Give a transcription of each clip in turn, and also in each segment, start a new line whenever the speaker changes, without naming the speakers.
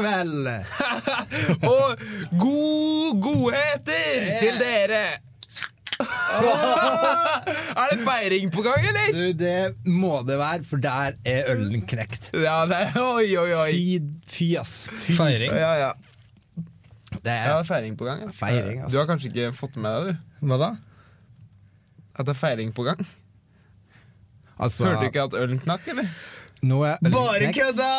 vel!
Og god godheter til dere! er det feiring på gang, eller?
Du, det må det være, for der er ølen knekt.
Ja, det er, oi, oi, oi.
Fy, fy ass. Fy.
Feiring.
Ja, ja.
Det
Ja, det
er
er feiring på gang. ja.
Feiring, ass.
Du har kanskje ikke fått med deg du,
Hva da?
at det er feiring på gang?
Altså,
Hørte du ikke at ølen knakk, eller?
Nå er ølen
Bare
knekt.
kødda!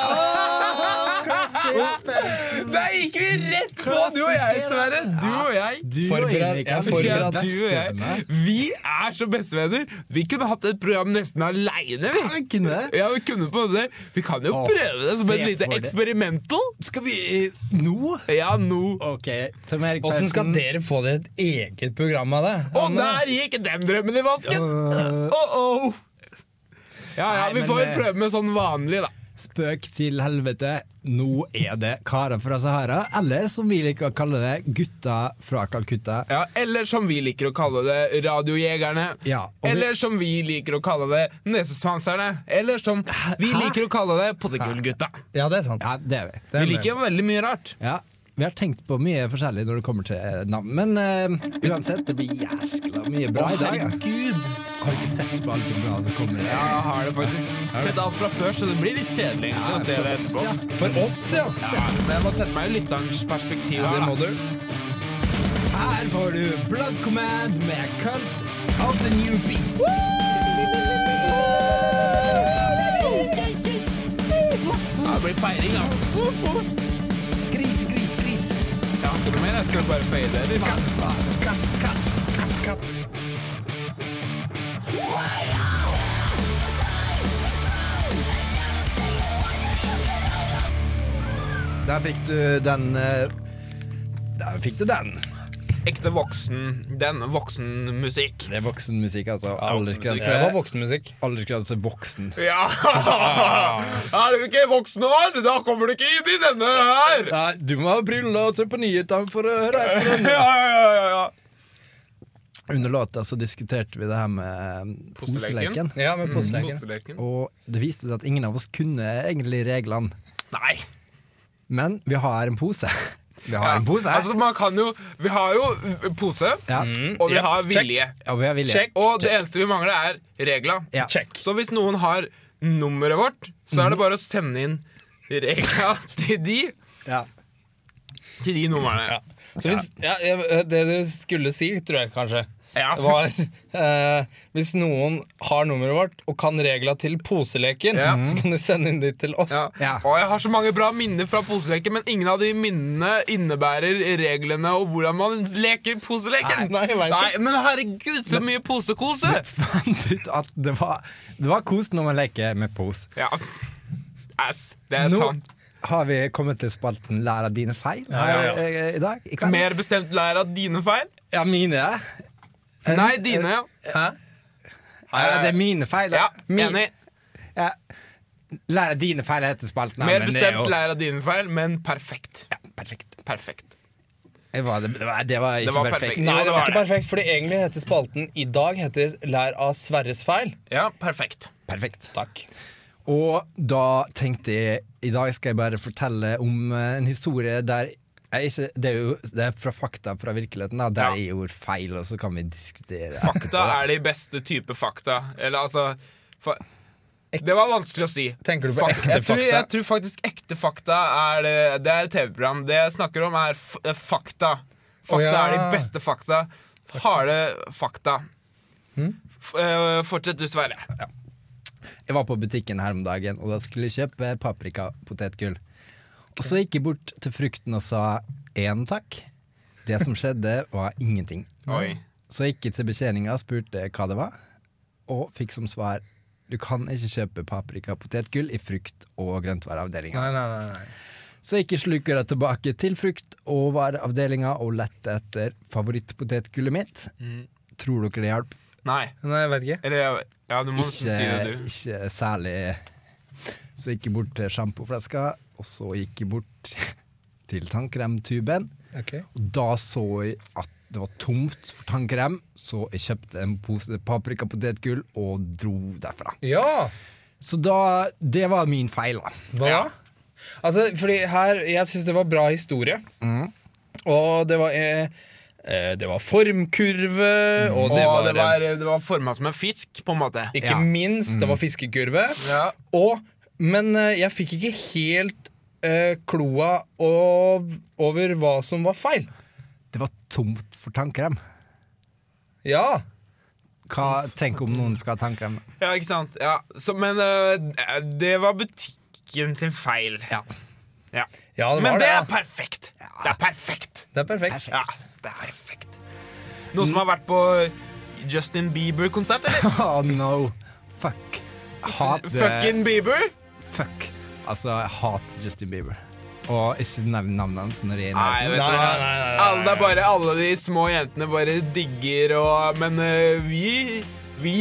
Der gikk vi rett på, du og jeg, Sverre! Du og jeg.
Du og
Forbered-
Eirik
jeg
er
forbered-
forberedt
du og jeg. Vi er så bestevenner. Vi kunne hatt et program nesten aleine, vi. Ja, Vi kunne på det. Vi kan jo
Åh,
prøve det som
se
et lite
for det.
experimental.
Skal vi eh, nå?
Ja, nå.
Ok, Tom Erik
Åssen skal
Persen.
dere få dere et eget program av det?
Og der gikk den drømmen i vasken!
Øh.
Oh, oh. Ja, ja,
Nei,
vi
men,
får
eh,
prøve med sånn vanlig, da.
Spøk til helvete. Nå er det karer fra Sahara, eller som vi liker å kalle det, gutta fra Calcutta.
Ja, eller som vi liker å kalle det, Radiojegerne.
Ja, og vi-
eller som vi liker å kalle det, Nesesvanserne. Eller som vi
Hæ?
liker å kalle det, Pottegullgutta.
Ja, det er sant.
Ja, det er vi. Det
Vi
er
liker veldig mye rart.
Ja, Vi har tenkt på mye forskjellig når det kommer til navn, men eh, uansett, det blir jæskla mye bra i dag. ja. Har du ikke sett på alt det bra som kommer?
Ja, jeg har det faktisk. Sett alt fra før, så det blir litt kjedelig egentlig å se det etterpå.
Ja.
For oss, ja! ass.
Ja, men jeg må sette meg i lytterens perspektiv.
Det
her,
må
da.
du.
Her får du Blood Command med Cult of the New Beat.
Ja, det blir feiring, ass.
Gris, gris, gris.
Jeg har ikke noe mer. Jeg skal bare føye det. eller?
Katt, svar. katt, katt, katt, katt. Der fikk du den eh, Der fikk du den.
Ekte voksen. Den voksenmusikk.
Det er voksenmusikk, altså.
Så det var voksenmusikk.
Aldersgrense voksen.
Ja! Er du ikke voksen år, da kommer du ikke inn i denne her!
Nei, du må ha briller og se på nyhetene for å høre på
Ja, ja, ja, ja.
Under låta så diskuterte vi det her med eh,
Poseleken.
poseleken.
Ja, med poseleken.
Poseleken.
Og det viste seg at ingen av oss kunne egentlig reglene.
Nei.
Men vi har en pose. Vi har
Ja.
en pose her.
Altså, man kan jo Vi har jo pose, Mm.
Ja.
og vi
Ja,
har
check.
vilje.
Ja, vi har vilje.
Check. Og det eneste vi mangler, er regla.
Ja. Mhm.
Check.
Så hvis noen har nummeret vårt, så er det bare å sende inn regla til de,
Ja.
til de numrene.
Ja. Så hvis, ja, jeg- det du skulle si, tror jeg kanskje,
Ja.
var eh, Hvis noen har nummeret vårt og kan regla til poseleken,
Ja.
så kan de sende inn dit til oss.
Ja.
Ja.
Og jeg har så mange bra minner fra poseleken, men ingen av de minnene innebærer reglene og hvordan man leker poseleken.
Nei, nei, jeg vet ikke.
men herregud, så mye posekose!
Fant ut at det var, det var kos når man leker med pose.
Ja. Ass, det er
Nå
sant.
har vi kommet til spalten Lær av dine feil
ja, ja.
her eh, i dag. I kveld.
Mer bestemt lær av dine feil.
Ja, mine. ja.
Nei, dine. ja.
Hæ?
Ja, det er mine feil.
Ja,
da. Mi-
enig.
Ja. Lær av dine feil heter spalten.
Mer
men det er
bestemt
jo-
lær av dine feil, men perfekt.
Ja, perfekt.
Perfekt.
Det var, det var, det var ikke
var
perfekt.
perfekt.
Nei,
Jo,
det
det
var
var
ikke perfekt, fordi egentlig heter spalten i dag heter Lær av Sverres feil.
Ja, perfekt.
perfekt.
Takk.
Og da tenkte jeg i dag skal jeg bare fortelle om eh, en historie der jeg ikke, det, er jo, det er fra fakta fra virkeligheten, da, der
Ja.
jeg gjorde feil, og så kan vi diskutere.
Fakta er de beste type fakta. Eller altså fa Det var vanskelig å si.
Tenker du på
Fak-
ekte
jeg tror,
fakta?
Jeg tror faktisk ekte fakta er det, det er et TV-program. Det jeg snakker om, er f eh, fakta. Fakta
Å, ja.
er de beste fakta. Harde fakta.
Hm?
F eh, fortsett du, Sverre.
Jeg var på butikken her om dagen, og da skulle jeg kjøpe paprikapotetgull. Og så gikk jeg bort til frukten og sa én takk. Det som skjedde, var ingenting.
Oi.
Så jeg gikk jeg til betjeninga og spurte hva det var, og fikk som svar du kan ikke kjøpe paprikapotetgull i frukt- og grøntvareavdelinga.
nei, nei, nei.
Så jeg gikk jeg slukøra tilbake til frukt- og vareavdelinga og lette etter favorittpotetgullet mitt.
Mm.
Tror dere det hjalp?
Nei.
Nei, jeg vet ikke.
Eller jeg- Ja, du må nesten si det,
ikke,
du.
ikke særlig Så gikk jeg bort til sjampoflaska, og så gikk jeg bort til tannkremtuben. Og da så jeg at det var tomt for tannkrem, så jeg kjøpte en pose paprikapotetgull og dro derfra.
Ja!
Så da Det var min feil, da.
Hva da? Altså, fordi her, Jeg syns det var bra historie. Og det var eh, eh, Det var formkurve, og Mm. det var,
det var, det var forma som en fisk, på en måte.
Ikke minst, det var fiskekurve.
Ja.
Og, men eh, jeg fikk ikke helt eh, kloa ov- over hva som var feil.
Det var tomt for tannkrem.
Ja,
Hva, tenk om noen skal ha tannkrem. da.
Ja, ikke sant? Ja. Så, men øh, det var butikken sin feil. Ja.
ja det var
men det,
det.
er perfekt! Det er perfekt.
Det er perfekt.
Ja, det er perfekt. Noen som har vært på Justin Bieber-konsert, eller?
Oh no. Fuck. Jeg hater
Fucking Bieber?
Fuck. Altså, jeg hater Justin Bieber. Og ikke nevn navnet hans når jeg er i
Nei,
nærheten.
vet du
Nei,
hva.
nei, nei, nei, nei.
Alle, det er bare, alle de små jentene bare digger og Men øh, vi Vi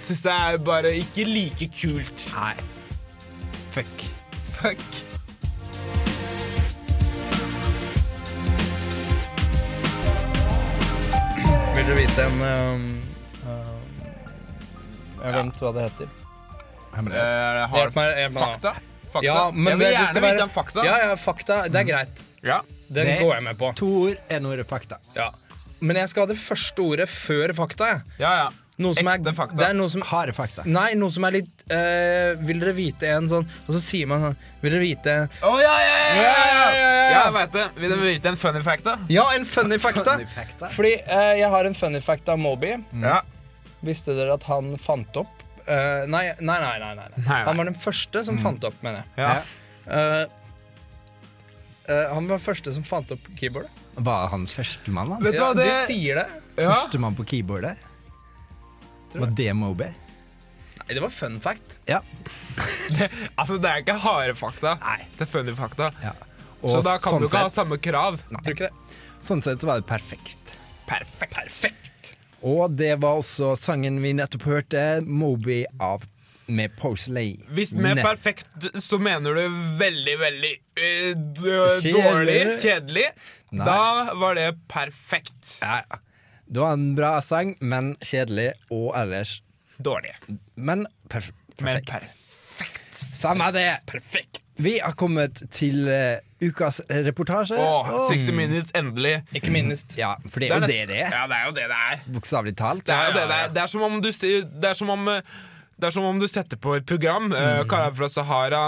syns det er bare ikke like kult.
Nei. Fuck.
Fuck.
Vil dere vite en eh, eh, Jeg har glemt hva det heter.
Hemmelighet.
Eh, har
Hjelp meg. Hjelp meg.
fakta? fakta?
Ja, men
jeg
det,
vil
det
gjerne
skal være
vite om fakta.
Ja, ja, fakta. Mm. Det er greit.
Ja.
Den
Det-
går jeg med på.
To ord, én ord er fakta.
Ja. Men jeg skal ha det første ordet før fakta. jeg.
Ja, ja.
Noe som
Ekte
er,
fakta.
Det er noe som
Harde fakta.
Nei, noe som er litt eh, Vil dere vite en sånn Og så sier man sånn Vil dere vite
Å, ja, ja, ja, ja, ja,
Ja, ja, ja, ja.
ja, jeg vet det. Vil dere vite en funny fact, da?
Ja, en funny fakta!
Funny fakta.
Fordi eh, jeg har en funny fact av Moby.
Ja.
Visste dere at han fant opp eh, nei, nei, nei, nei, nei, nei.
nei.
Han var den første som fant opp, mener jeg.
Ja.
Ja.
Eh, eh, han var den første som fant opp keyboardet.
Var han førstemann, han?
Vet du
Ja,
hva,
det...
det
De sier det.
ja.
Førstemann på keyboardet?
Tror
Var det Moby?
Nei, det var fun fact.
Ja.
Altså, det er ikke harde fakta.
Nei.
Det er funny fakta.
ja.
Så da kan
sånn
du ikke ha
sett,
samme krav.
Tror ikke det.
Sånn sett så var det perfekt.
Perfekt. Perfekt.
Og det var også sangen vi nettopp hørte, Moby av med Posley.
Hvis med
Nett-
perfekt så mener du veldig, veldig eh, d-
Kjedelig.
dårlig, kjedelig,
Nei.
da var det perfekt
Ja, ja. Det var en bra sang, men kjedelig og ellers
dårlig.
Men perf
Men
perfekt.
perfekt.
Samme det!
Perfekt.
Vi har kommet til eh, ukas reportasje.
Åh,
Og-
60 minutes, endelig.
Ikke minst.
Ja, for det er jo det
nest-
det er.
Ja, det er jo det det er.
Bokstavelig talt.
Det er jo det det
ja, ja.
er. Det er som om du, sti- det er som om, eh, det er som om du setter på et program. eh,
Mm.
Kaller det fra Sahara,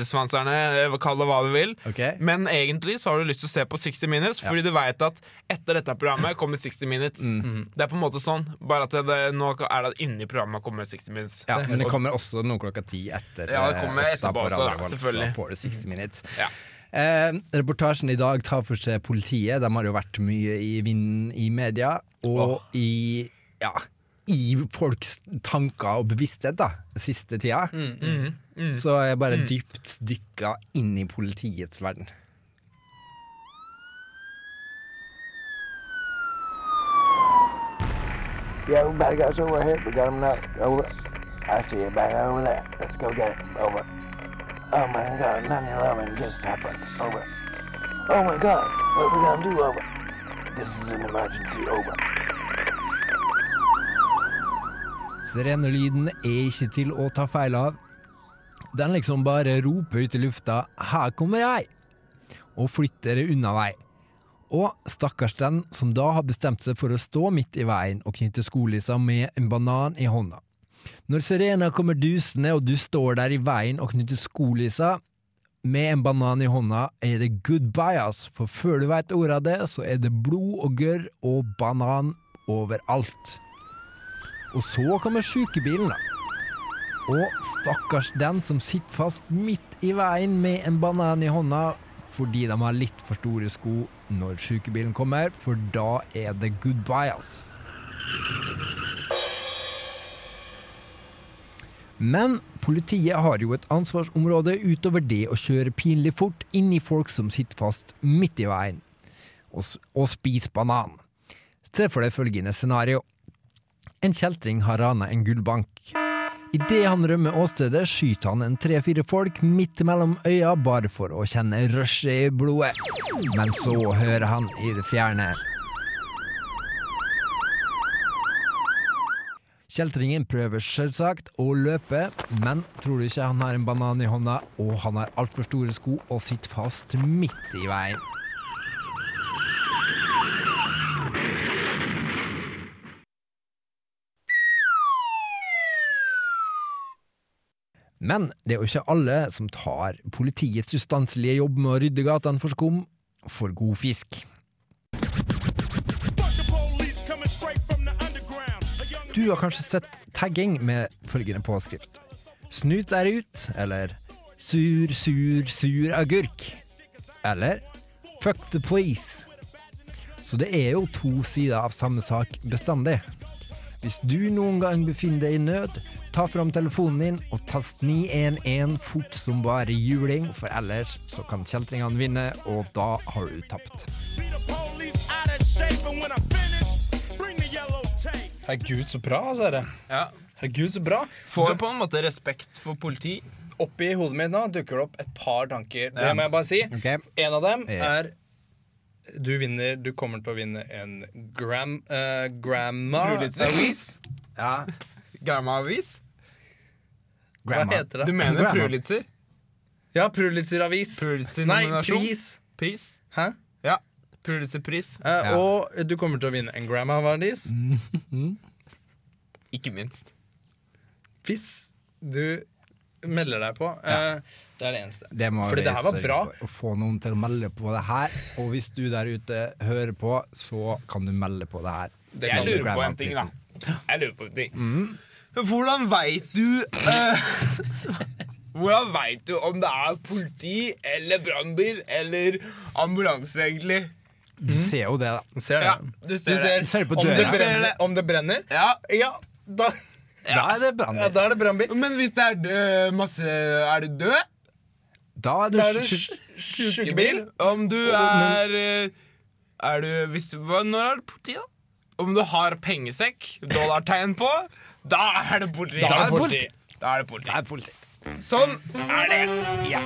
Nesevisesvanserne, eh, kall det hva du vil.
Ok.
Men egentlig så har du lyst til å se på 60 Minutes, fordi du veit at etter dette programmet kommer 60 Minutes.
Mm.
Det er på en måte sånn, bare at det, det, nå er det inni programmet kommer 60 Minutes.
Ja, men det kommer også noe klokka ti etter.
Ja, det
eh,
kommer
oss da
etterpå
på
også, da,
Radio Revolt,
selvfølgelig. Mm.
Så får du 60 minutes.
Ja.
Eh, reportasjen i dag tar for seg politiet. De har jo vært mye i vinden i media, og i ja, i folks tanker og bevissthet da, siste tida.
Mm,
Så jeg bare dypt dykka inn i politiets verden.
Yo, bad guy's over here. We got him now. Over. I see a bad guy over there. Let's go get him. Over. Oh my god, 9-11 just happened. Over. Oh my god, what we gonna do? Over. This is an emergency. Over.
Sirenelyden er ikke til å ta feil av. Den liksom bare roper ut i lufta 'her kommer jeg!' og flytter unna vei. Og stakkars den som da har bestemt seg for å stå midt i veien og knytte skolissa med en banan i hånda. Når sirena kommer dusende og du står der i veien og knytter skolissa med en banan i hånda, er det goodbye, ass, for før du veit ordet av det, så er det blod og gørr og banan overalt. Og så kommer sykebilen da. Og stakkars den som sitter fast midt i veien med en banan i hånda fordi de har litt for store sko når sykebilen kommer, for da er det goodbye, altså. Men politiet har jo et ansvarsområde utover det å kjøre pinlig fort inn i folk som sitter fast midt i veien, og, s- og spiser banan. Se for deg følgende scenario. En kjeltring har rana en gullbank. Idet han rømmer åstedet, skyter han en tre-fire folk midt mellom øya bare for å kjenne rushet i blodet. Men så hører han i det fjerne Kjeltringen prøver selvsagt å løpe, men tror du ikke han har en banan i hånda, og han har altfor store sko og sitter fast midt i veien. Men det er jo ikke alle som tar politiets ustanselige jobb med å rydde gatene for skum for god fisk.
Fuck the police coming straight from the underground. A young
Du har kanskje sett tagging med følgende påskrift. Snut er ut, eller sur, sur, sur agurk. Eller fuck the police. Så det er jo to sider av samme sak bestandig. Hvis du noen gang befinner deg i nød, ta fram telefonen din og tast 911 fort som bare juling, for ellers så kan kjeltringene vinne, og da har du tapt.
beat the police out of shape, and when I finish, bring the yellow tape.
Herregud, så bra, altså. dere.
Ja.
Herregud, så bra.
Får på en måte respekt for politi.
Oppi hodet mitt nå dukker det opp et par tanker. Det må jeg bare si.
Ok. Eh.
En av dem
Ja.
er du vinner, du kommer til å vinne en gram, eh, grandma-avis.
Ja,
Gamma-avis.
Hva
grandma.
heter
Du
det?
mener
Grandma.
Prulitzer?
Ja, Pulitzer-avis.
Pulitzer
Nei,
nominasjon.
pris.
Pris?
Hæ?
Ja. Pulitzer-pris.
Eh, Og du kommer til å vinne en grandma-avis.
Mm.
Ikke minst.
Hvis du melder deg på. Eh, Det er det eneste.
Det må
Fordi
vi
det her var
sørge
bra.
for Å få noen til å melde på det her. Og hvis du der ute hører på, så kan du melde på det her.
Det
Jeg
kan
lurer
du.
på en ting, da. Jeg lurer på en ting. Mm. Hvordan veit du eh, Hvordan veit du om det er politi eller brannbil eller ambulanse, egentlig?
Du ser jo det, da.
Ser det.
Ja, du ser
du ser,
det.
Ser det på
om, det
døra.
brenner, om det brenner?
Ja,
Ja, da,
Da er det
ja,
brann.
da er det brannbil.
Men hvis det er død, masse Er du død?
Da er
Da er det
det
sj-
Sjukebil?
sjukebil.
Om du er eh, Er du hvis, hva, Når er det politi, da? Om du har pengesekk, dollartegn på, da er det politi.
Da er det politi.
Da er det politi.
er politi.
Sånn er det.
Ja.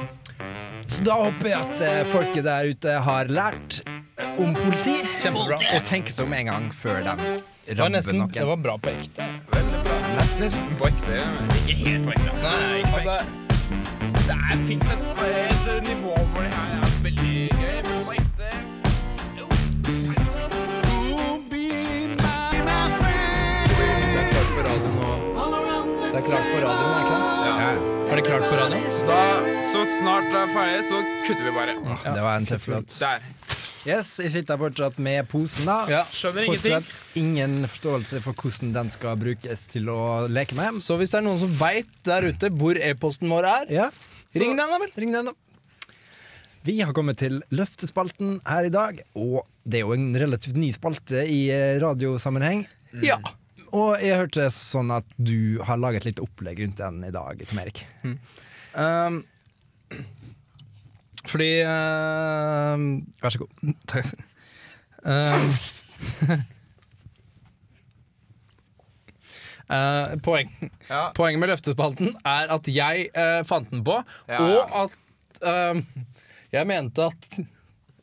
Så da håper jeg at eh, folket der ute har lært eh, om politi.
Kjempebra.
Og tenker seg om en gang før de
Det var,
rammer
nesten, det
noen.
var bra på ekte.
Veldig bra. Nesten på ekte. men Ikke helt på ekte.
Nei,
Altså, det er- finnes et, et nivå hvor det her er veldig gøy, men på ekte
Det er klart på radioen, er det ikke
ja.
det? Er det klart på radioen?
Da, Så snart det er ferdig, så kutter vi bare.
Det var en tøff låt.
Der.
Yes, jeg sitter fortsatt med posen, da.
Ja,
skjønner
fortsatt ingen forståelse for hvordan den skal brukes til å leke med.
Så hvis det er noen som veit der ute hvor e-posten vår er,
Ja.
ring den, da vel!
Ring den, da. Vi har kommet til løftespalten her i dag, og det er jo en relativt ny spalte i eh, radiosammenheng.
Ja.
Og jeg hørte sånn at du har laget litt opplegg rundt den i dag, Tom Erik.
Ehm, fordi ehm,
Vær så god. Takk.
Ehm. Eh, poeng.
Ja.
Poenget med løftespalten er at jeg eh, fant den på,
Ja,
og at ehm, jeg mente at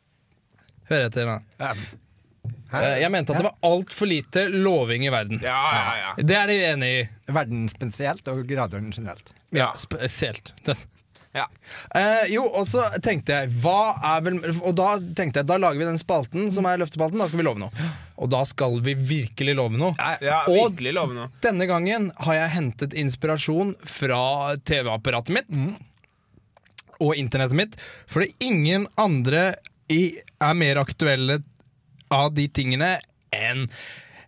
Hør etter nå. Eh, jeg mente at det var altfor lite loving i verden.
ja, ja, ja.
Det er de enig i.
Verden spesielt, og radioen generelt.
Ja. Spesielt den.
ja.
Eh, jo, og så tenkte jeg hva er vel, Og da tenkte jeg, da lager vi den spalten som er løftespalten. Da skal vi love noe. Og da skal vi virkelig love noe.
ja
Og-
virkelig lovende.
Denne gangen har jeg hentet inspirasjon fra TV-apparatet mitt og internettet mitt, fordi ingen andre i, er mer aktuelle av de tingene enn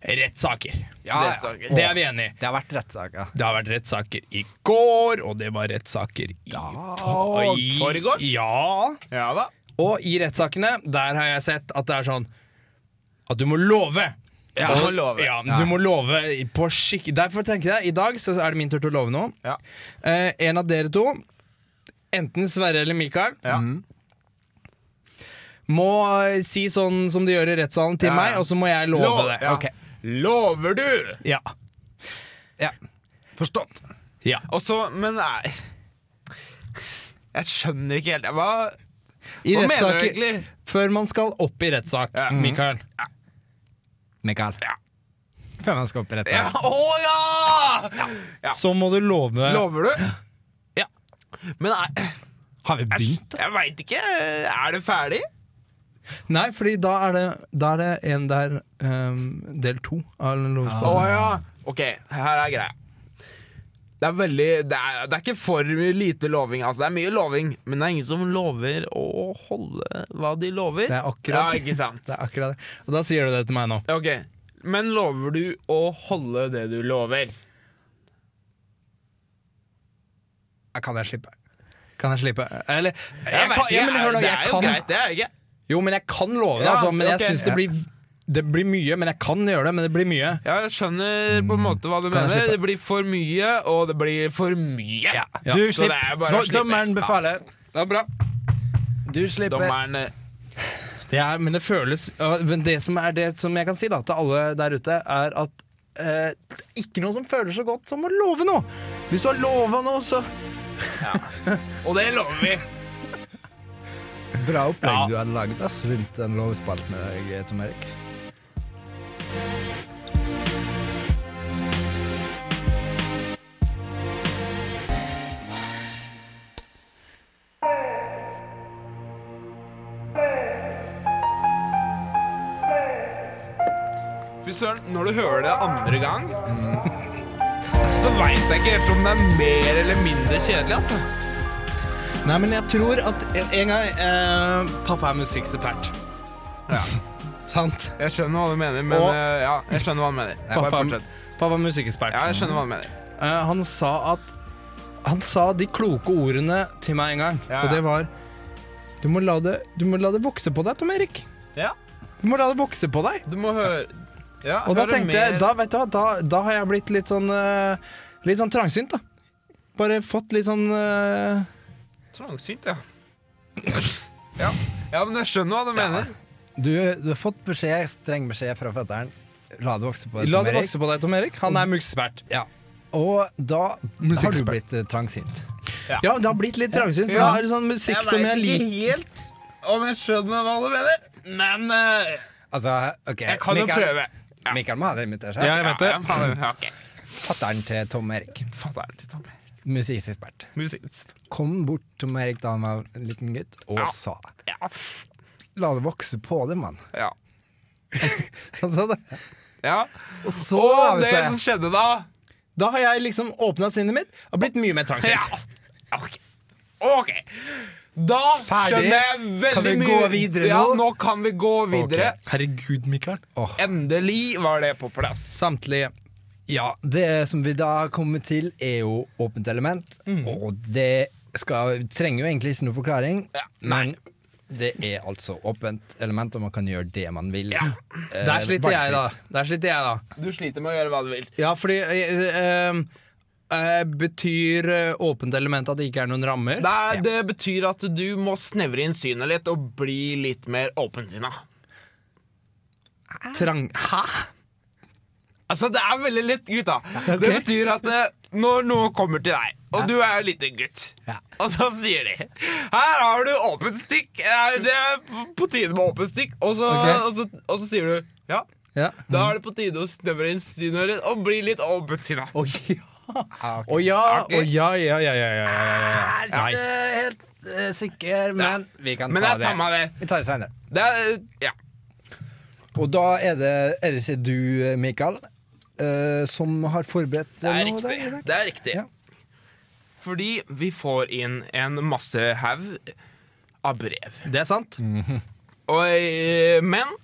rettssaker.
Ja, ja.
Rettssaker.
Det er vi enig i.
Det har vært rettssaker.
Det har vært rettssaker i går, og det var rettssaker i for- i-
forgårs?
Ja.
Ja da.
Og i rettssakene, der har jeg sett at det er sånn At du må love.
Ja, du må love.
Ja, du må love i- på skikk... Derfor tenker jeg, i dag så er det min tur til å love noe.
Ja.
Eh, en av dere to, enten Sverre eller Mikael,
Ja.
må eh, si sånn som de gjør i rettssalen til
Ja, ja.
meg, og så må jeg love
Lov-
det.
ja.
Ok.
Lover du?
Ja.
Ja. Forstått.
ja.
Og så, men nei Jeg skjønner ikke helt Hva,
I
hva mener du
rettssaker-
egentlig?
Før man skal opp i rettssak,
Ja.
Mikael.
Mikael. Penvennskap rett
Ja,
her.
å ja! ja!
Så må du love
Lover du? Ja. Men er,
Har vi begynt?
jeg veit ikke. Er det ferdig?
Nei, fordi da er det, da er det en der ehm, Del to av
Å
Lovespalten.
ja. Ok, her er greia. Det er veldig det er, det er ikke for mye lite loving. Altså, det er mye loving, men det er ingen som lover å holde hva de lover.
Det er akkurat
Ja, ikke sant?
Det er akkurat det. Og da sier du det til meg nå.
Ok, Men lover du å holde det du lover?
Kan jeg slippe?
Kan jeg slippe? Eller jeg
vet
kan,
ikke,
ja, men, hør nå,
det
jeg
er jo
kan,
greit, det er det ikke.
Jo, men jeg kan love det,
Ja,
altså. Men
ok.
jeg syns det blir Det blir mye, men jeg kan gjøre det. Men det blir mye.
Ja, jeg skjønner på en måte hva du
Kan jeg
mener.
slippe?
Det blir for mye, og det blir for mye.
Ja.
Du
Så det er
slipper.
bare å slippe.
Dommeren befaler.
Det er bra.
Du slipper.
Dommeren eh,
Det er, men det føles ja, men Det som er det som jeg kan si da til alle der ute, er at eh, det er ikke noe som føles så godt som å love noe. Hvis du har lova noe, så
Og det lover vi.
Bra opplegg du hadde lagd ass, rundt den lovspalten i dag, Tom Erik.
Fy søren, når du hører det andre gang, mm, så veit jeg ikke helt om det er mer eller mindre kjedelig, altså.
Nei, men jeg tror at en, en gang eh, Pappa er musikksepert.
Ja.
Sant?
Jeg skjønner hva du mener, men
Og-
eh, ja, jeg skjønner hva du mener. Bare
Pappa,
fortsett.
pappa er musikkekspert.
Ja, jeg skjønner hva du mener.
Eh, han sa at Han sa de kloke ordene til meg en gang,
Ja,
og
ja.
det var du må, la det, du må la det vokse på deg, Tom Erik.
Ja,
Du må la det vokse på deg.
du må høre ja,
Og da
høre
tenkte jeg,
mer.
da, vet du hva, da, da har jeg blitt litt sånn eh, Litt sånn trangsynt, da. Bare fått litt sånn eh,
Trangsynt, ja. ja. Ja, men jeg skjønner hva du mener.
Du, du har fått beskjed, streng beskjed fra fetteren. La det vokse på deg,
La
Tom
det
Erik.
vokse på deg, Tom Erik. Han er musikekspert.
Ja. Og da har du
Musikkekspert.
blitt eh, trangsynt.
Ja, det har blitt litt trangsynt, for
Ja.
da er det sånn musikk som jeg
vet
liker.
ikke helt om jeg skjønner hva du mener, men eh,
Altså, ok
jeg kan jo
Mikael-
prøve. Ja.
Mikael må ha det invitert seg.
Ja, jeg vet det.
Ja, faen, ja, ok.
Fatteren til Tom Erik,
Fatter'n til Tom Erik.
musikkekspert,
Musikk.
kom bort til Tom Erik da han var en liten gutt, og
Ja.
sa
Ja.
La det vokse på det, mann.
Ja.
Han sa det.
ja.
Og så,
Og det
vet
som
du
skjedde da
Da har jeg liksom åpna sinnet mitt og blitt mye mer
ja.
trangsynt.
Ok. Ok. Da
Ferdig.
skjønner jeg veldig mye
Kan vi gå videre
Ja,
nå?
nå kan vi gå videre.
Herregud, Mikael.
Åh.
Endelig var det på plass.
Samtlige.
Ja, det som vi da kommer til, er jo åpent element. Og det skal, trenger jo egentlig ikke noe forklaring,
Ja,
men det er altså åpent element, og man kan gjøre det man vil.
Ja.
Eh,
Der sliter jeg, da.
valgfritt.
Der sliter jeg, da.
Du sliter med å gjøre hva du vil.
Ja, fordi eh, eh, eh, Betyr eh, åpent element at det ikke er noen rammer?
Det, er- det betyr at du må snevre inn synet litt og bli litt mer åpensinna.
Trang... Hæ?
Altså, det er veldig lett, gutta. Det betyr at eh, når noen kommer til deg, og du er en liten gutt, og så sier de 'Her har du åpent stikk'. Er det på tide med åpent stikk? Og så,
Ok.
og så, og så sier du 'ja'.
Ja.
Da er det på tide å snevre inn synet ditt og bli litt åpensinna.
Å ja! Å ja, å ja, ja, ja, ja, ja, ja, ja.
Jeg
Nei.
er helt eh, sikker, men vi kan
Men det
ta
er samme det.
Vi tar det senere.
Det er, ja.
Og da er det, er det ikke du, Mikael, eh, som har forberedt
Det er
noe
riktig.
der i dag?
Det er riktig.
Ja.
Fordi vi får inn en masse haug av brev.
Det er sant.
Mhm. Og, eh, men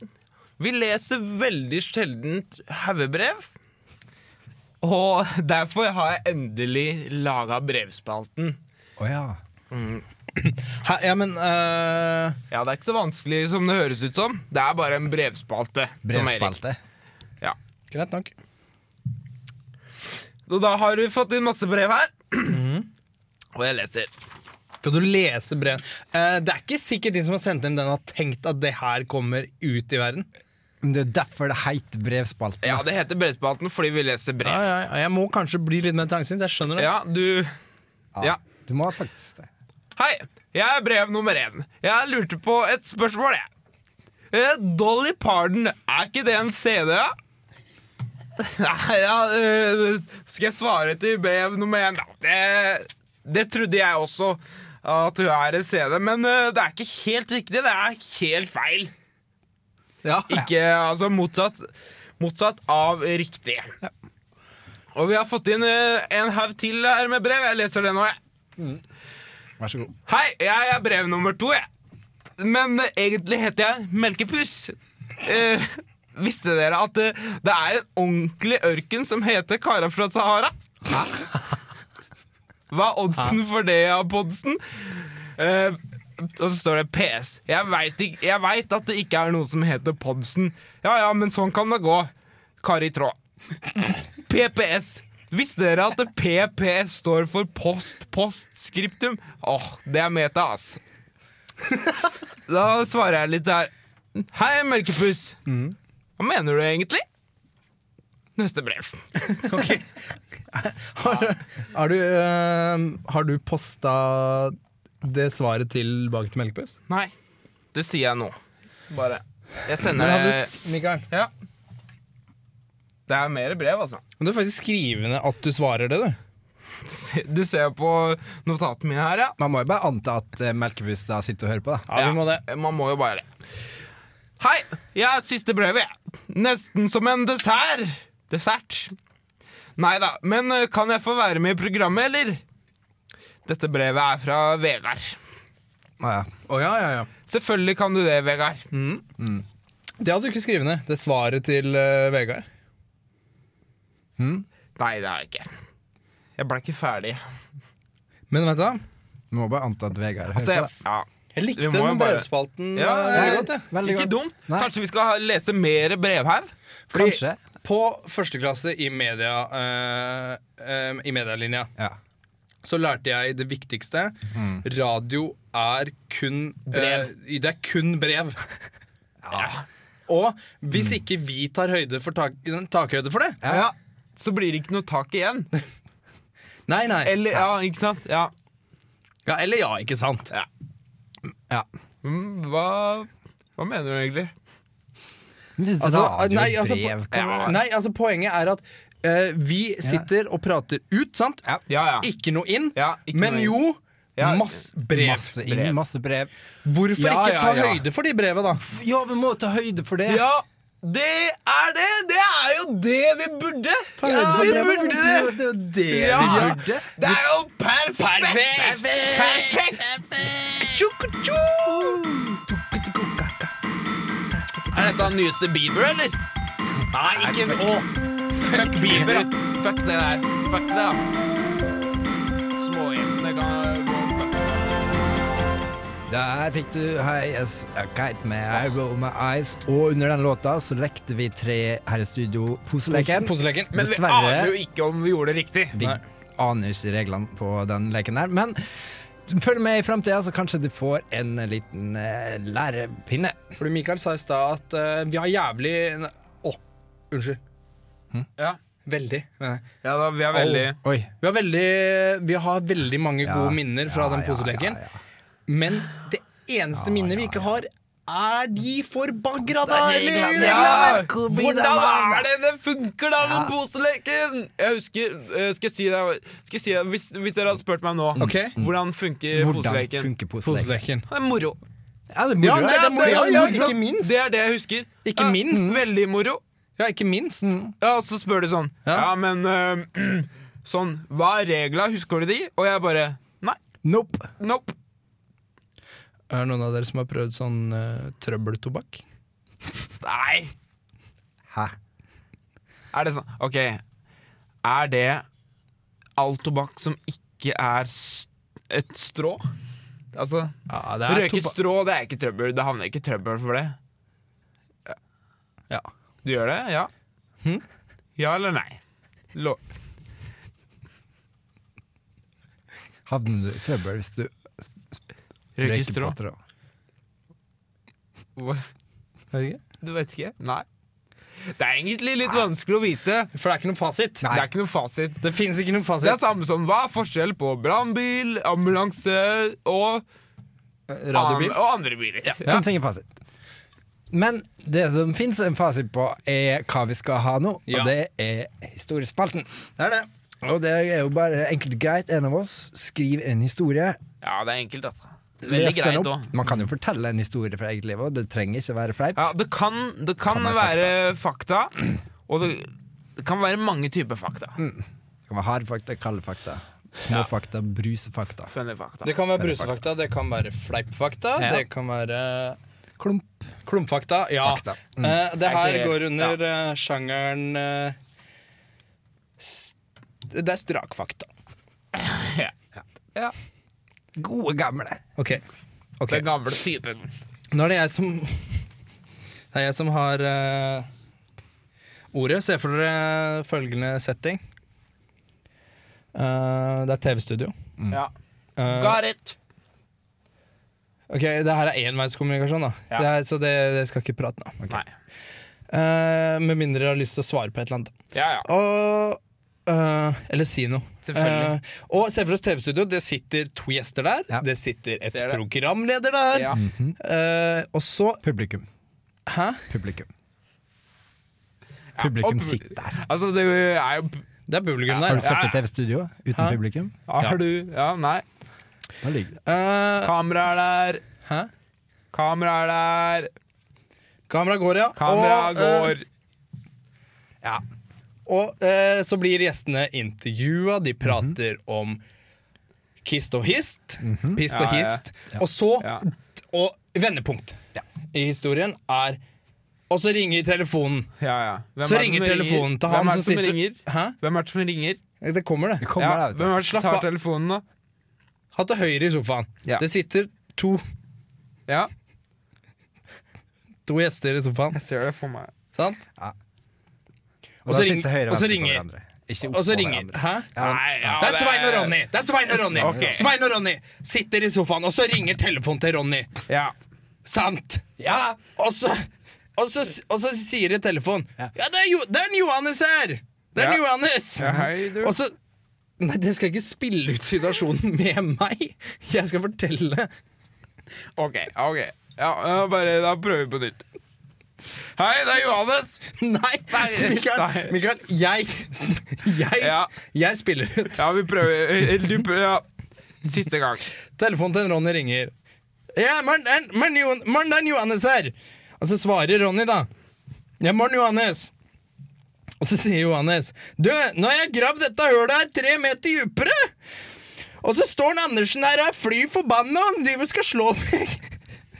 vi leser veldig sjelden haugebrev. Og derfor har jeg endelig laga brevspalten.
Å ja.
Hæ, ja, men eh,
Ja, Det er ikke så vanskelig som det høres ut som. Det er bare en brevspalte. Tom Erik.
Brevspalte.
Ja.
Greit nok.
Og da har du fått inn masse brev her. Mhm. Og jeg leser.
Skal du lese brev? Eh, det er ikke sikkert de som har sendt inn den, har tenkt at det her kommer ut i verden.
Men Det er derfor det heter brevspalte.
Ja, det heter brevspalten fordi vi leser brev.
Ja,
Ja,
ja, ja, jeg må kanskje bli litt mer trangsynt. Jeg skjønner det.
du Ja.
Du må faktisk det.
Hei, jeg er brev nummer én. Jeg lurte på et spørsmål, jeg. Eh, Dolly Parton, er ikke det en CD? ja? Nei, ja, øh, skal jeg svare til brev nummer én, da? Det, det trodde jeg også at hun er en CD, men øh, det er ikke helt riktig. Det er helt feil.
Ja.
Ikke altså motsatt, motsatt av riktig. Og vi har fått inn øh, en haug til her med brev. Jeg leser det nå, jeg.
Vær så god.
Hei, jeg er brev nummer to, jeg. Men eh, egentlig heter jeg Melkepus. Eh, visste dere at eh, det er en ordentlig ørken som heter Kara fra Sahara? Hva er oddsen for det, ja, Podsen? Eh, og så står det PS. Jeg veit ikk- jeg veit at det ikke er noe som heter Podsen. Ja ja, men sånn kan det gå. Kari Tråd. PPS. Visste dere at PPS står for post postskriptum? Åh, det er meta, ass. Da svarer jeg litt her. Hei, mørkepuss.
Mm.
Hva mener du egentlig? Neste brev.
Har, har du, uh, har du posta det svaret tilbake til Melkepus?
Nei, det sier jeg nå. Bare. Jeg sender
Men har du,
det
sk- Mikael,
Ja. Det er mer brev, altså.
men du er faktisk skrivende at du svarer det, du.
Du ser på notatene mine her, ja.
Man må jo bare anta at eh, Melkebus da sitter og hører på. da
Ja, vi må det.
Man må jo bare det. Hei, jeg er siste brevet, jeg. Nesten som en dessert. Dessert. Nei da, men eh, kan jeg få være med i programmet, eller? Dette brevet er fra Vegard.
Å, ja.
Å, ja, ja, ja.
Selvfølgelig kan du det, Vegard. Mm,
Det hadde du ikke skrevet ned. Det svaret til eh, Vegard.
Nei, det har jeg ikke. Jeg ble ikke ferdig.
Men vet du hva?
Man må bare anta at Vegard hører
Så jeg,
på.
Altså, ja.
Jeg
Vi
likte
må
den
jo bare-
brevspalten
Ja,
eh,
ja,
veldig
ja.
godt. jeg.
da Veldig
Ikke
godt.
dumt.
Nei.
Kanskje vi skal ha- lese mer brevhaug?
Fordi
Kanskje.
På førsteklasse i, media, eh, eh, i medialinja
Ja.
så lærte jeg det viktigste.
Mm.
Radio er kun
Brev.
eh, det er kun brev. Ja. Og hvis
Mm.
ikke vi tar høyde for tak, takhøyde for det
Ja. Så blir det ikke noe tak igjen.
Nei, nei.
Eller, ja, ikke sant? Ja.
ja, eller ja, ikke sant?
ja.
ja.
Mm, Hva, hva mener du egentlig?
Altså,
Radio,
nei, altså,
brev,
po nei, altså poenget er at eh, vi sitter og prater ut, sant?
Ja, ja.
Ikke noe inn,
Ja, ikke
men
noe inn.
jo
Ja,
masse brev.
Masse inn, masse brev.
Hvorfor
Ja,
ikke
ja,
ta
ja.
høyde for de brevet, da?
Ja, vi må ta høyde for det.
Ja, det er det! Det er jo det vi burde! Ja, vi burde det!
er jo det
Ja.
vi burde.
Det er jo perfekt! Perfekt! perfekt. Er dette den nyeste Bieber, eller? Nei, ikke Å, fuck Bieber! Fuck det der. Fuck det, da. Småjentene kan gå og fuck.
Der fikk du High As A Kite med I Roll My Eyes. Og under den låta så lekte vi tre her i studio poseleken.
Pos- poseleken.
Men vi
Dessverre-
aner jo ikke om vi gjorde det riktig.
Vi aner ikke reglene på den leken der. Men følg med i framtida, så kanskje du får en liten eh, lærepinne.
Fordi Mikael sa i stad at eh, vi har jævlig Å, unnskyld.
Ja,
Veldig. mener jeg.
ja da, vi er veldig
Oi.
Vi har veldig, vi har veldig mange gode minner fra
ja,
den
ja,
poseleken.
ja, ja.
Men det eneste minnet vi ikke har, er de forbagra der!
Ja, Hvordan er det det funker, da, med poseleken? Jeg husker eh, Skal jeg si det, skal jeg si det hvis, hvis dere hadde spurt meg nå
Ok.
Hvordan funker
Hvordan
poseleken?
funker poseleken?
Det er moro.
Ja, det er
Ja,
moro.
nei,
ja.
det er moro,
Ja,
ja,
ja,
ikke minst.
Det er det jeg husker.
Ikke
Ja, mm.
minst.
Veldig moro.
Ja, ikke minst. mm,
Ja, og så spør de sånn Ja, men eh, sånn Hva er regla? Husker du de? Og jeg bare Nei.
Nope.
Nope.
Er det noen av dere som har prøvd sånn eh, trøbbeltobakk?
Nei.
Hæ?
Er det sånn Ok. Er det all tobakk som ikke er s et strå? Altså
Ja, det
Røyke strå, det er ikke trøbbel. Det havner ikke i trøbbel for det.
Ja.
Du gjør det? Ja? Ja eller nei? Lo
Havner du i trøbbel hvis du
røyke
røyker
strå?
på trå?
Hva?
For
Du vet ikke? Nei. Det er egentlig litt vanskelig å vite.
det er ikke noen fasit.
Det er ikke noe fasit.
Det fins ikke noen
Det er
fasit.
samme som hva er forskjell på brannbil, ambulanse og, an
Radiobil.
og andre biler. Ja.
Finnes ingen fasit. Men det som fins en fasit på, er hva vi skal ha nå,
Ja.
og det er historiespalten.
Det er det.
Og det er jo bare enkelt og greit. En av oss skriver en historie.
Ja, det er enkelt, altså. Veldig
les den
greit
opp.
òg.
Man kan jo fortelle en historie fra eget liv òg, det trenger ikke være fleip.
Ja, det kan, det kan,
Kan være
være fakta, og det, det kan være mange typer fakta.
Det kan være harde fakta, kalde fakta. Små fakta, brusefakta.
Funny fakta.
Det kan være brusefakta, det kan være fleipfakta,
Ja.
det kan være eh,
Klump.
klumpfakta. Ja.
Fakta.
Eh, det her
Er ikke-
går under eh, sjangeren eh, s Det er strakfakta.
Ja. Ja.
Gode, gamle.
Ok.
Den gamle typen.
Nå er det jeg som Det er jeg som har eh, ordet. Se for dere følgende setting. Eh, det er TV-studio.
Ja.
Eh,
Got it.
ok, Det her er enveiskommunikasjon, da.
Ja.
Det er, så det, det skal ikke prate nå.
Nei.
Eh, med mindre dere har lyst til å svare på et eller annet.
Ja, ja.
Og, øh, eller si noe.
Selvfølgelig.
Eh, og se for oss TV-studio. Det sitter to gjester der.
Ja.
Det sitter et
Ser det.
programleder der.
ja.
Eh, og så
Publikum.
Hæ?
Publikum. Publikum
og pub-
sitter der.
Altså, det er jo
Det er publikum
Har
der.
du sett
Ja.
et TV-studio uten
Hæ?
publikum?
Har du Ja, nei.
Da ligger det.
Eh,
Kamera er der.
hæ?
Kamera er der.
Kamera går, ja.
Kamera
og, eh,
går.
Ja.
og eh, så blir gjestene intervjua. De prater om kist og hist. Pist og
Ja, ja, ja.
hist. Og så
Ja.
Og vendepunkt i historien er Og så ringer telefonen.
Ja, ja. Hvem
Så
er det
ringer
som
telefonen til
Hvem
han
er
som
det som
sitter
ringer?
Hæ?
Hvem er det som ringer?
Det kommer, det.
Det kommer
Ja,
der, vet
hvem
du.
er det som
Slapp
tar
av.
telefonen nå?
Ha til høyre i sofaen.
Ja.
Det sitter to,
Ja,
to gjester i sofaen.
jeg ser det for meg.
Sant?
Ja.
Og
da
så ring-
sitter høyre
og så
venstre for
ringer-
hverandre. Ikke opp
Og så
på
ringer
hverandre.
Hæ?
Ja.
Nei, ja,
Det er Svein og Ronny! Det er Svein og Ronny
Ok.
Svein og Ronny sitter i sofaen, og så ringer telefonen til Ronny.
Ja.
Sant? Ja. Og så, og så, og så sier det telefonen Ja, det er, jo, det er en Johannes her! Det er en
Ja.
Johannes!
Ja, hei, du.
Og så Nei, dere skal ikke spille ut situasjonen med meg! Jeg skal fortelle.
Ok, ok. Ja, øh, bare da prøver vi på nytt. Hei, det er Johannes!
Nei,
Nei,
Mikael,
nei.
Mikael jeg, jeg,
Ja.
jeg spiller ut.
Ja, vi prøver. Eller du prøver, ja. Siste gang.
Telefonen til Ronny ringer. Ja, Marn- Marn- Johan- Marn Johannes her! Og så svarer Ronny, da. Ja, Marn Johannes. Og så sier Johannes, du, nå har jeg gravd dette hølet her tre meter dypere! Og så står han Andersen her og er fly forbanna, han driver og skal slå meg!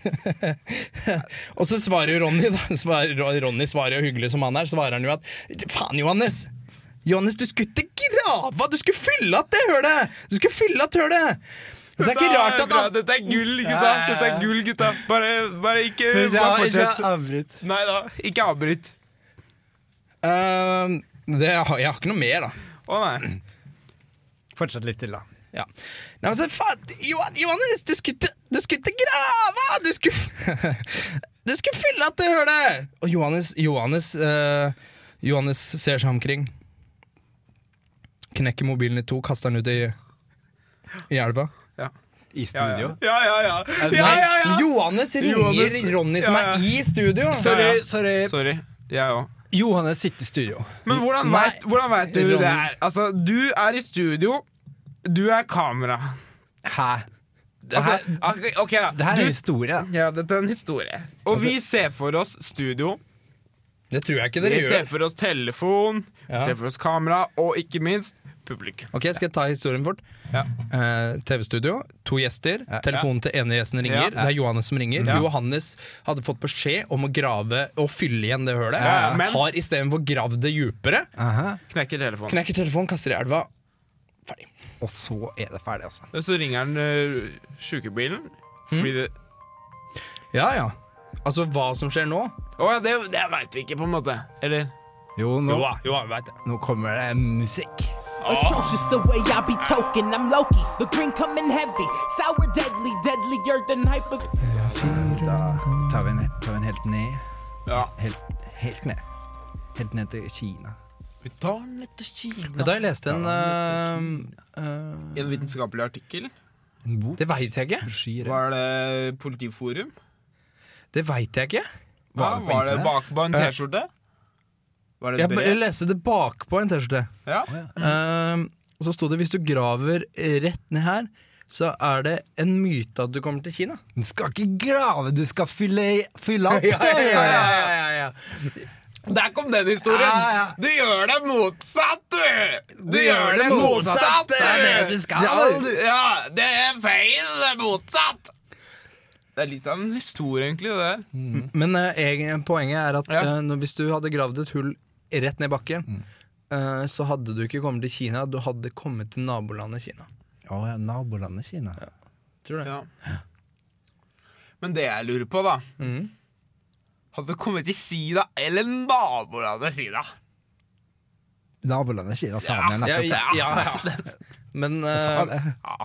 og så svarer Ronny, da. Svarer, Ronny svarer jo hyggelig som han er, svarer han jo at faen, Johannes. Johannes, du skulle ikke grave! Du skulle fylle att det hølet! Du skulle fylle att hølet! Så det er ikke rart at han,
Dette er gull, gutta! Dette er gull, gutta. Bare, bare ikke bare fortsett.
avbryt.
Nei da, ikke avbryt.
Ehm, det, jeg, har, jeg har ikke noe mer, da.
Å nei.
Fortsett litt til, da.
Ja. Nei, men så faen, Johan, Johannes, du skulle ikke- du skulle ikke grave! Du skulle Du skulle fylle at det hølet! Og Johannes Johannes, eh, Johannes ser seg omkring. Knekker mobilen i to, kaster den ut i, i elva.
Ja.
I
Ja,
studio.
ja, ja. ja, ja. ja,
Nei,
ja, ja.
Johannes ringer
Johannes-
Ronny, som
Ja, ja.
er i studio.
Sorry,
sorry.
Sorry. Jeg òg.
Johannes sitter i studio.
Men hvordan
Nei.
vet, hvordan vet du
Ronny.
det er? Altså, du er i studio. Du er kamera.
Hæ? Det her,
Altså, ok, ok, da.
det her er
du,
historie.
ja, dette er en historie. Og
Altså-
vi ser for oss studio.
Det tror jeg ikke
Vi
dere
ser
gjør.
for oss telefon, vi
Ja.
ser for oss kamera, og ikke minst publikum.
Ok, Skal jeg ta historien fort?
Ja.
Eh, TV-studio, to gjester. Telefonen til ene gjesten ringer.
Ja.
Det er Johannes som ringer.
Ja.
Johannes hadde fått beskjed om å grave og fylle igjen det hølet.
Ja, ja, men-
Har istedenfor gravd det djupere.
Aha.
Knekker telefonen.
Knekker telefonen, kaster i elva. Ferdig.
Og så er det ferdig, altså.
Og Så ringer han øh, sjukebilen. Fordi det
Ja, ja. Altså, hva som skjer nå?
Å ja, det, det veit vi ikke, på en måte. Eller
Jo, nå,
jo, jeg veit det.
nå kommer det musikk.
Atrocious the way I be token. I'm Loki, the green coming heavy, sour deadly, deadlier than hyper.
Da tar vi den, tar vi den helt ned.
Ja.
Helt, helt ned. Helt ned til Kina.
Vi tar den litt til Kina.
Da jeg leste en eh, eh,
En vitenskapelig artikkel.
En bok?
Det veit jeg ikke.
Brosjyre.
Var det Politiforum?
Det veit jeg ikke.
Hva,
Var det på
var det
internett?
bak på en
Eh.
T-skjorte? Var det
Jeg,
et
b- jeg
brev?
leste det bakpå en T-skjorte.
Ja. Mm.
Ehm, og så sto det hvis du graver rett ned her, så er det en myte at du kommer til Kina.
Du skal ikke grave, du skal fylle, fylle opp. da.
Der kom den historien!
Ja, ja.
Du gjør det motsatt, du! Du gjør det
motsatt,
motsatt!
det er det du skal,
Ja,
du.
du- Ja, det er feil! Det er motsatt! Det er litt av en historie, egentlig, det der.
Men eh, egen- poenget er at
Ja.
eh, når- hvis du hadde gravd et hull rett ned i bakken, eh, så hadde du ikke kommet til Kina, du hadde kommet til nabolandet Kina.
Å ja, nabolandet Kina.
Tror du det?
Ja. Men det jeg lurer på, da
Mm.
Hadde det kommet til Sida eller nabolandet Sida?
Nabolandet Kina, sa han jo
Ja,
nettopp.
ja, ja, Men eh,
Ja,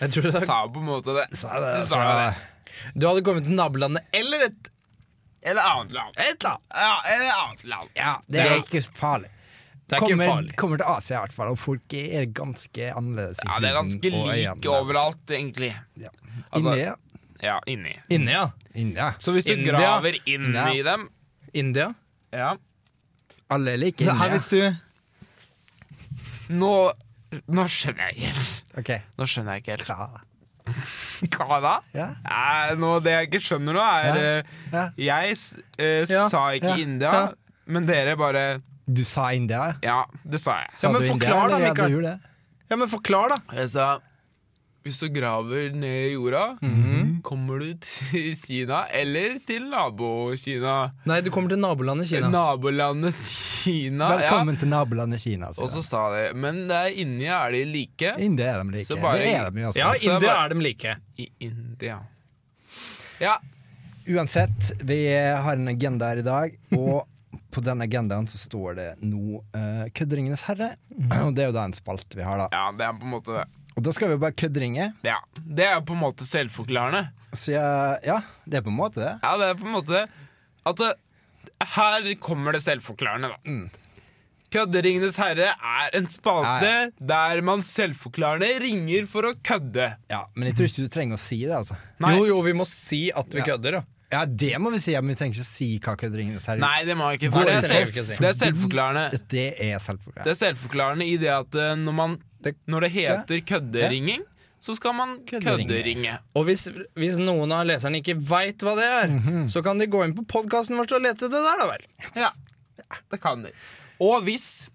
jeg tror det,
sa jo på en måte det.
Sa det,
Du
sa det.
du hadde kommet til nabolandet E. eller et
Eller annet land.
et eller annet.
Ja, eller annet land.
Ja, det er ikke farlig.
Det er ikke
kommer,
farlig.
kommer til Asia i hvert fall, og folk er ganske annerledes. i
Ja, det er
huden
ganske
og
lik
øynene.
overalt, egentlig.
Ja.
Altså-
India.
Ja, inni.
India.
India.
Så hvis du
India.
graver inn
India.
i dem
India.
Ja.
Alle er like
Her,
India.
hvis du
Nå, nå skjønner jeg ikke helt.
Ok,
Nå skjønner jeg ikke helt.
bra.
Hva da?
Ja.
Nei, nå, det jeg ikke skjønner nå, er
Ja.
eh,
Ja.
Jeg s- eh,
Ja.
sa ikke
Ja.
India,
Ja.
men dere bare
Du sa India?
Ja, det sa jeg.
Sa
men
du India,
forklar da,
eller? Ja,
Mikael.
du gjorde det.
Ja, men forklar, da.
Jeg sa hvis du graver ned i jorda, kommer du til Kina eller til nabo-Kina.
Nei, du kommer til nabolandet Kina.
Nabolandet Kina.
Velkommen til nabolandet Kina.
Ja. Og så sa de Men der inni er de like.
India er de like.
Så bare-
Det er de altså. jo også.
ja,
Så
India
bare-
er dem like.
I India. Ja.
Uansett, vi har en agenda her i dag, og på den agendaen så står det nå eh, 'Kødderingenes herre'.
Mhm.
Og det er jo da en spalte vi har, da.
ja, det er på en måte det.
Og da skal vi bare kødderinge.
Ja. Det er på en måte selvforklarende.
Så jeg, ja, det er på en måte det.
Ja, det er på en måte det. At det, her kommer det selvforklarende, da. Kødde Ringenes herre er en spalte
Ja,
der man selvforklarende ringer for å kødde.
Ja, Men jeg tror ikke du
Mhm.
trenger å si det, altså.
Nei.
Jo, jo, vi må si at vi kødder, da.
Ja, det må vi si, men vi trenger ikke å si hva 'Kødderingenes herre'
Nei, det må jeg ikke. For
Nei,
det,
det
er
trenger vi ikke si.
selv, det er selvforklarende.
Det er selvfølgelig.
Det er selvforklarende i det at eh, når, man,
Det-
når det heter kødderinging, så skal man
Kødderinge.
kødderinge.
Og hvis, hvis noen av leserne ikke veit hva det er, så kan de gå inn på podkasten vår og lete det der, da vel.
Ja, det kan de. Og hvis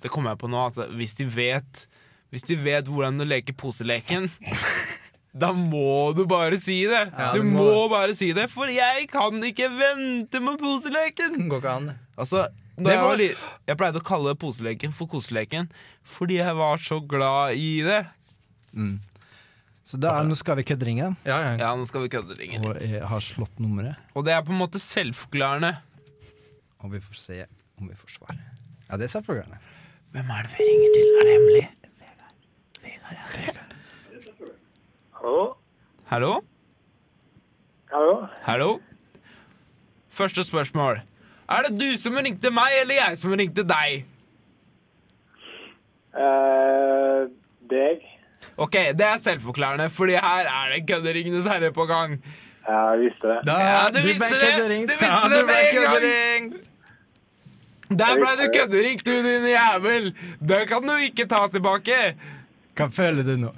Det kommer jeg på nå, at hvis de vet Hvis de vet hvordan du leker poseleken da må du bare si det! du
du
må.
må-
bare si det, for jeg kan ikke vente med poseleken!
Går ikke an.
Altså,
Det
når jeg,
var-
var, li- jeg pleide å kalle poseleken for koseleken fordi jeg var så glad i det.
Så da, nå skal vi kødderinge,
Ja, ja.
Ja, nå skal vi kødde lenger.
og jeg har slått nummeret.
Og det er på en måte selvforklarende.
Og vi får se om vi får svar. Ja, det er selvfølgelig.
Hvem er det vi ringer til? Er det hemmelig?
Hallo?
Hallo?
Hallo?
Hallo? Første spørsmål. Er det du som ringte meg, eller jeg som ringte deg?
Eh, deg?
Ok, det er selvforklarende, fordi her er det Kødderingenes herre på gang.
Ja, jeg visste det.
Ja, du visste det! Du visste det med en gang! Der ble du kødderingt, du din jævel! Det kan du ikke ta tilbake!
Hva føler du nå?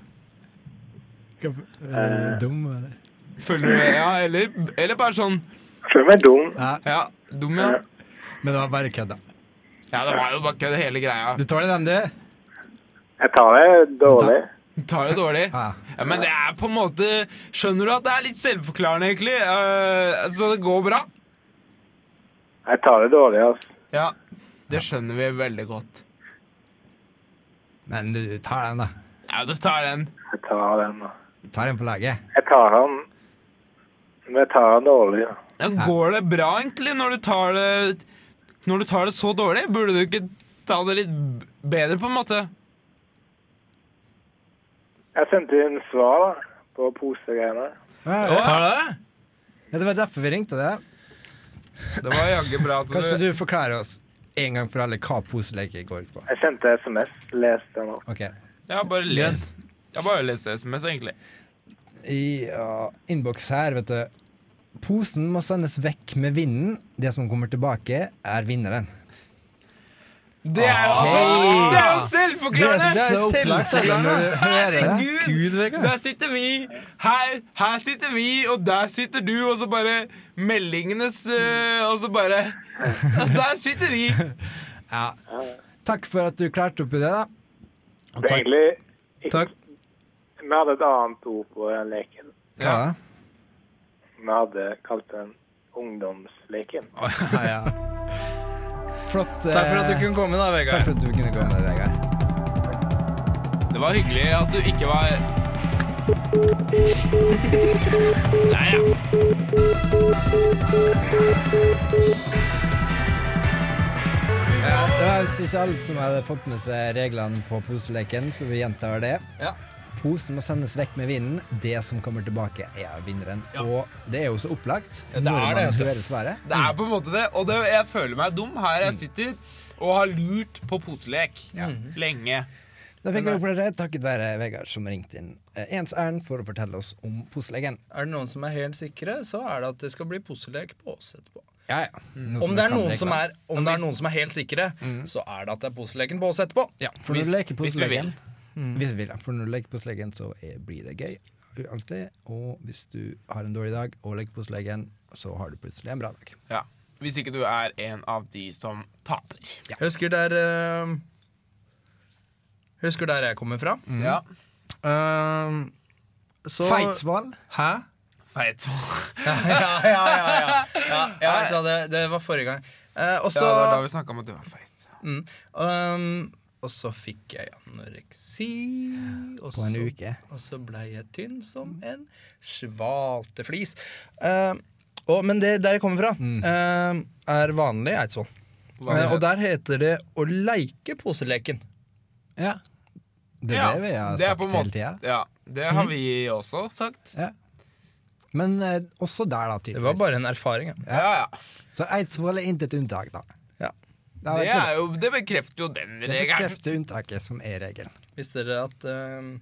Hva,
Eh.
er du dum, eller?
Følger du med? Ja, eller, eller bare sånn
Jeg føler meg dum.
Ja, dum, ja.
Men det var bare kødd, da.
Ja, det var jo bare kødd, hele greia.
Du tåler den, du?
Jeg tar det dårlig.
Du tar det dårlig.
Ja.
Ja, men det er på en måte Skjønner du at det er litt selvforklarende, egentlig? Eh, så det går bra.
Jeg tar det dårlig, altså.
Ja, det skjønner vi veldig godt.
Men du tar den, da.
Ja, du tar den.
Jeg tar den, da.
Du tar den på laget.
Jeg tar han. Men jeg tar han dårlig, da.
Ja, går det bra, egentlig, når du tar det Når du tar det så dårlig? Burde du ikke ta det litt b- bedre, på en måte?
Jeg sendte inn svar, da. På posegreiene.
Ja,
Har du det?
det var derfor vi ringte deg.
Det var jaggu bra at
Kanskje
du
du forklarer oss en gang for alle hva poseleker går ut på.
Jeg sendte SMS. Les den opp.
Ok.
Ja, bare les. Jeg bare leser SMS, egentlig.
I uh, innboks her, vet du Posen må sendes vekk med vinden. Det som kommer tilbake, er vinneren.
Det er jo altså, det er jo selvforklarende!
Ah, Det er så opplagt at når du hører det.
Gud,
Herregud!
Vegard.
Der sitter vi, her, her sitter vi, og der sitter du, og så bare meldingenes eh, Og så bare altså, Der sitter vi!
Takk for at du klarte opp i det, da.
Det er egentlig ikke
Takk.
Vi hadde et annet ord på den leken.
Ja.
Vi hadde kalt den ungdomsleken.
Flott.
Takk for at du kunne komme, da,
Takk
Vegard.
for at du kunne komme, Vegard.
Det var hyggelig at du ikke var Der, ja.
Det var visst ikke alle som hadde fått med seg reglene på poseleken, så vi gjentar det.
Ja.
Posen må sendes vekk med vinden. Det som kommer tilbake, er vinneren. Og det er jo så opplagt
det
når
er
man
det, vet du.
hører svaret.
Det er på en måte det. Og det, jeg føler meg dum her jeg sitter og har lurt på poselek
Ja.
lenge.
Da fikk vi opplevd det takket være Vegard som ringte inn eh, ens ærend for å fortelle oss om poseleken.
Er det noen som er helt sikre, så er det at det skal bli posselek på oss etterpå.
Ja, ja. Mm. Noe
Om
vi
det er
kan
noen
reglene.
som er, om det er, noen som er helt sikre, så er det at det er posseleken på oss etterpå.
Ja.
For når
Hvis-
du leker
hvis vi
puslegen Hvis du vil, ja. For når du leker puslegen, så er, blir det gøy. Alltid. Og hvis du har en dårlig dag og leker puslegen, så har du plutselig en bra dag.
Ja. Hvis ikke du er en av de som taper.
Jeg husker der eh, Husker der jeg kommer fra.
Ja.
Eh, så
Feitsval.
Hæ?
Feit.
Ja, ja, ja. ja, ja. ja jeg vet hva, det, det var forrige gang. Eh, og
Ja,
så
det var da vi snakka om at du var feit.
Mm. Um, og så fikk jeg anoreksi. Og
På en
så,
uke.
Og så blei jeg tynn som en svalteflis. Um, og, men det der jeg kommer fra,
Mm.
um, er vanlig i Eidsvoll.
Vanlig.
Eh, og der heter det å leike poseleken.
Ja. Det er
Ja,
det vi har
det er på en
sagt hele
måte-
tida.
Ja, det har vi også sagt.
Ja. Men eh, også der, da,
Det var
tydeligvis.
bare en erfaring. Ja.
Ja, ja.
Så Eidsvoll er intet unntak, da.
Ja.
Da vet
Det,
vi
er jo, det bekrefter jo den
Det
regelen.
bekrefter unntaket som er regelen.
Visste dere at um,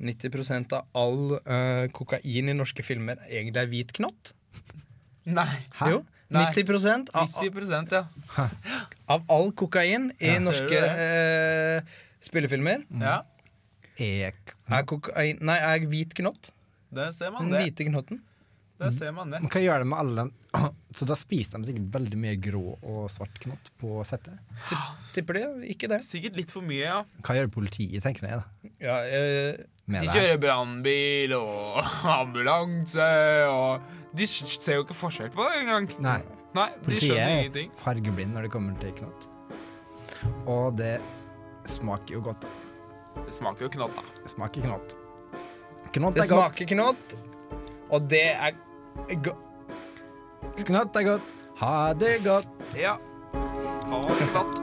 90 av all eh, kokain i norske filmer egentlig er hvit knott?
Nei.
Jo,
Nei.
90 av,
90 ja.
av all kokain i norske
ser du
eh, spillefilmer
Mm.
ja.
Ek.
er, kokain, nei, er hvit knott.
Der ser man
Den
det.
hvite knotten.
Der ser man det.
Men hva gjør de med alle den Så da spiser de sikkert veldig mye grå og svart knott på settet.
Tipper de ikke det.
Sikkert litt for mye, ja.
Hva gjør politiet, tenker jeg, da?
Ja, eh,
Med det
De
her?
kjører brannbil og ambulanse og De s- ser jo ikke forskjell på det engang.
Nei.
Nei, de
Politiet
skjønner
er
ingenting.
fargeblind når det kommer til knott. Og det smaker jo godt. da.
Det smaker jo knott, da.
Det smaker knott. Knott
det
er godt.
smaker knott, og det er go
Knott er godt. Ha det godt.
Ja. Ha det godt.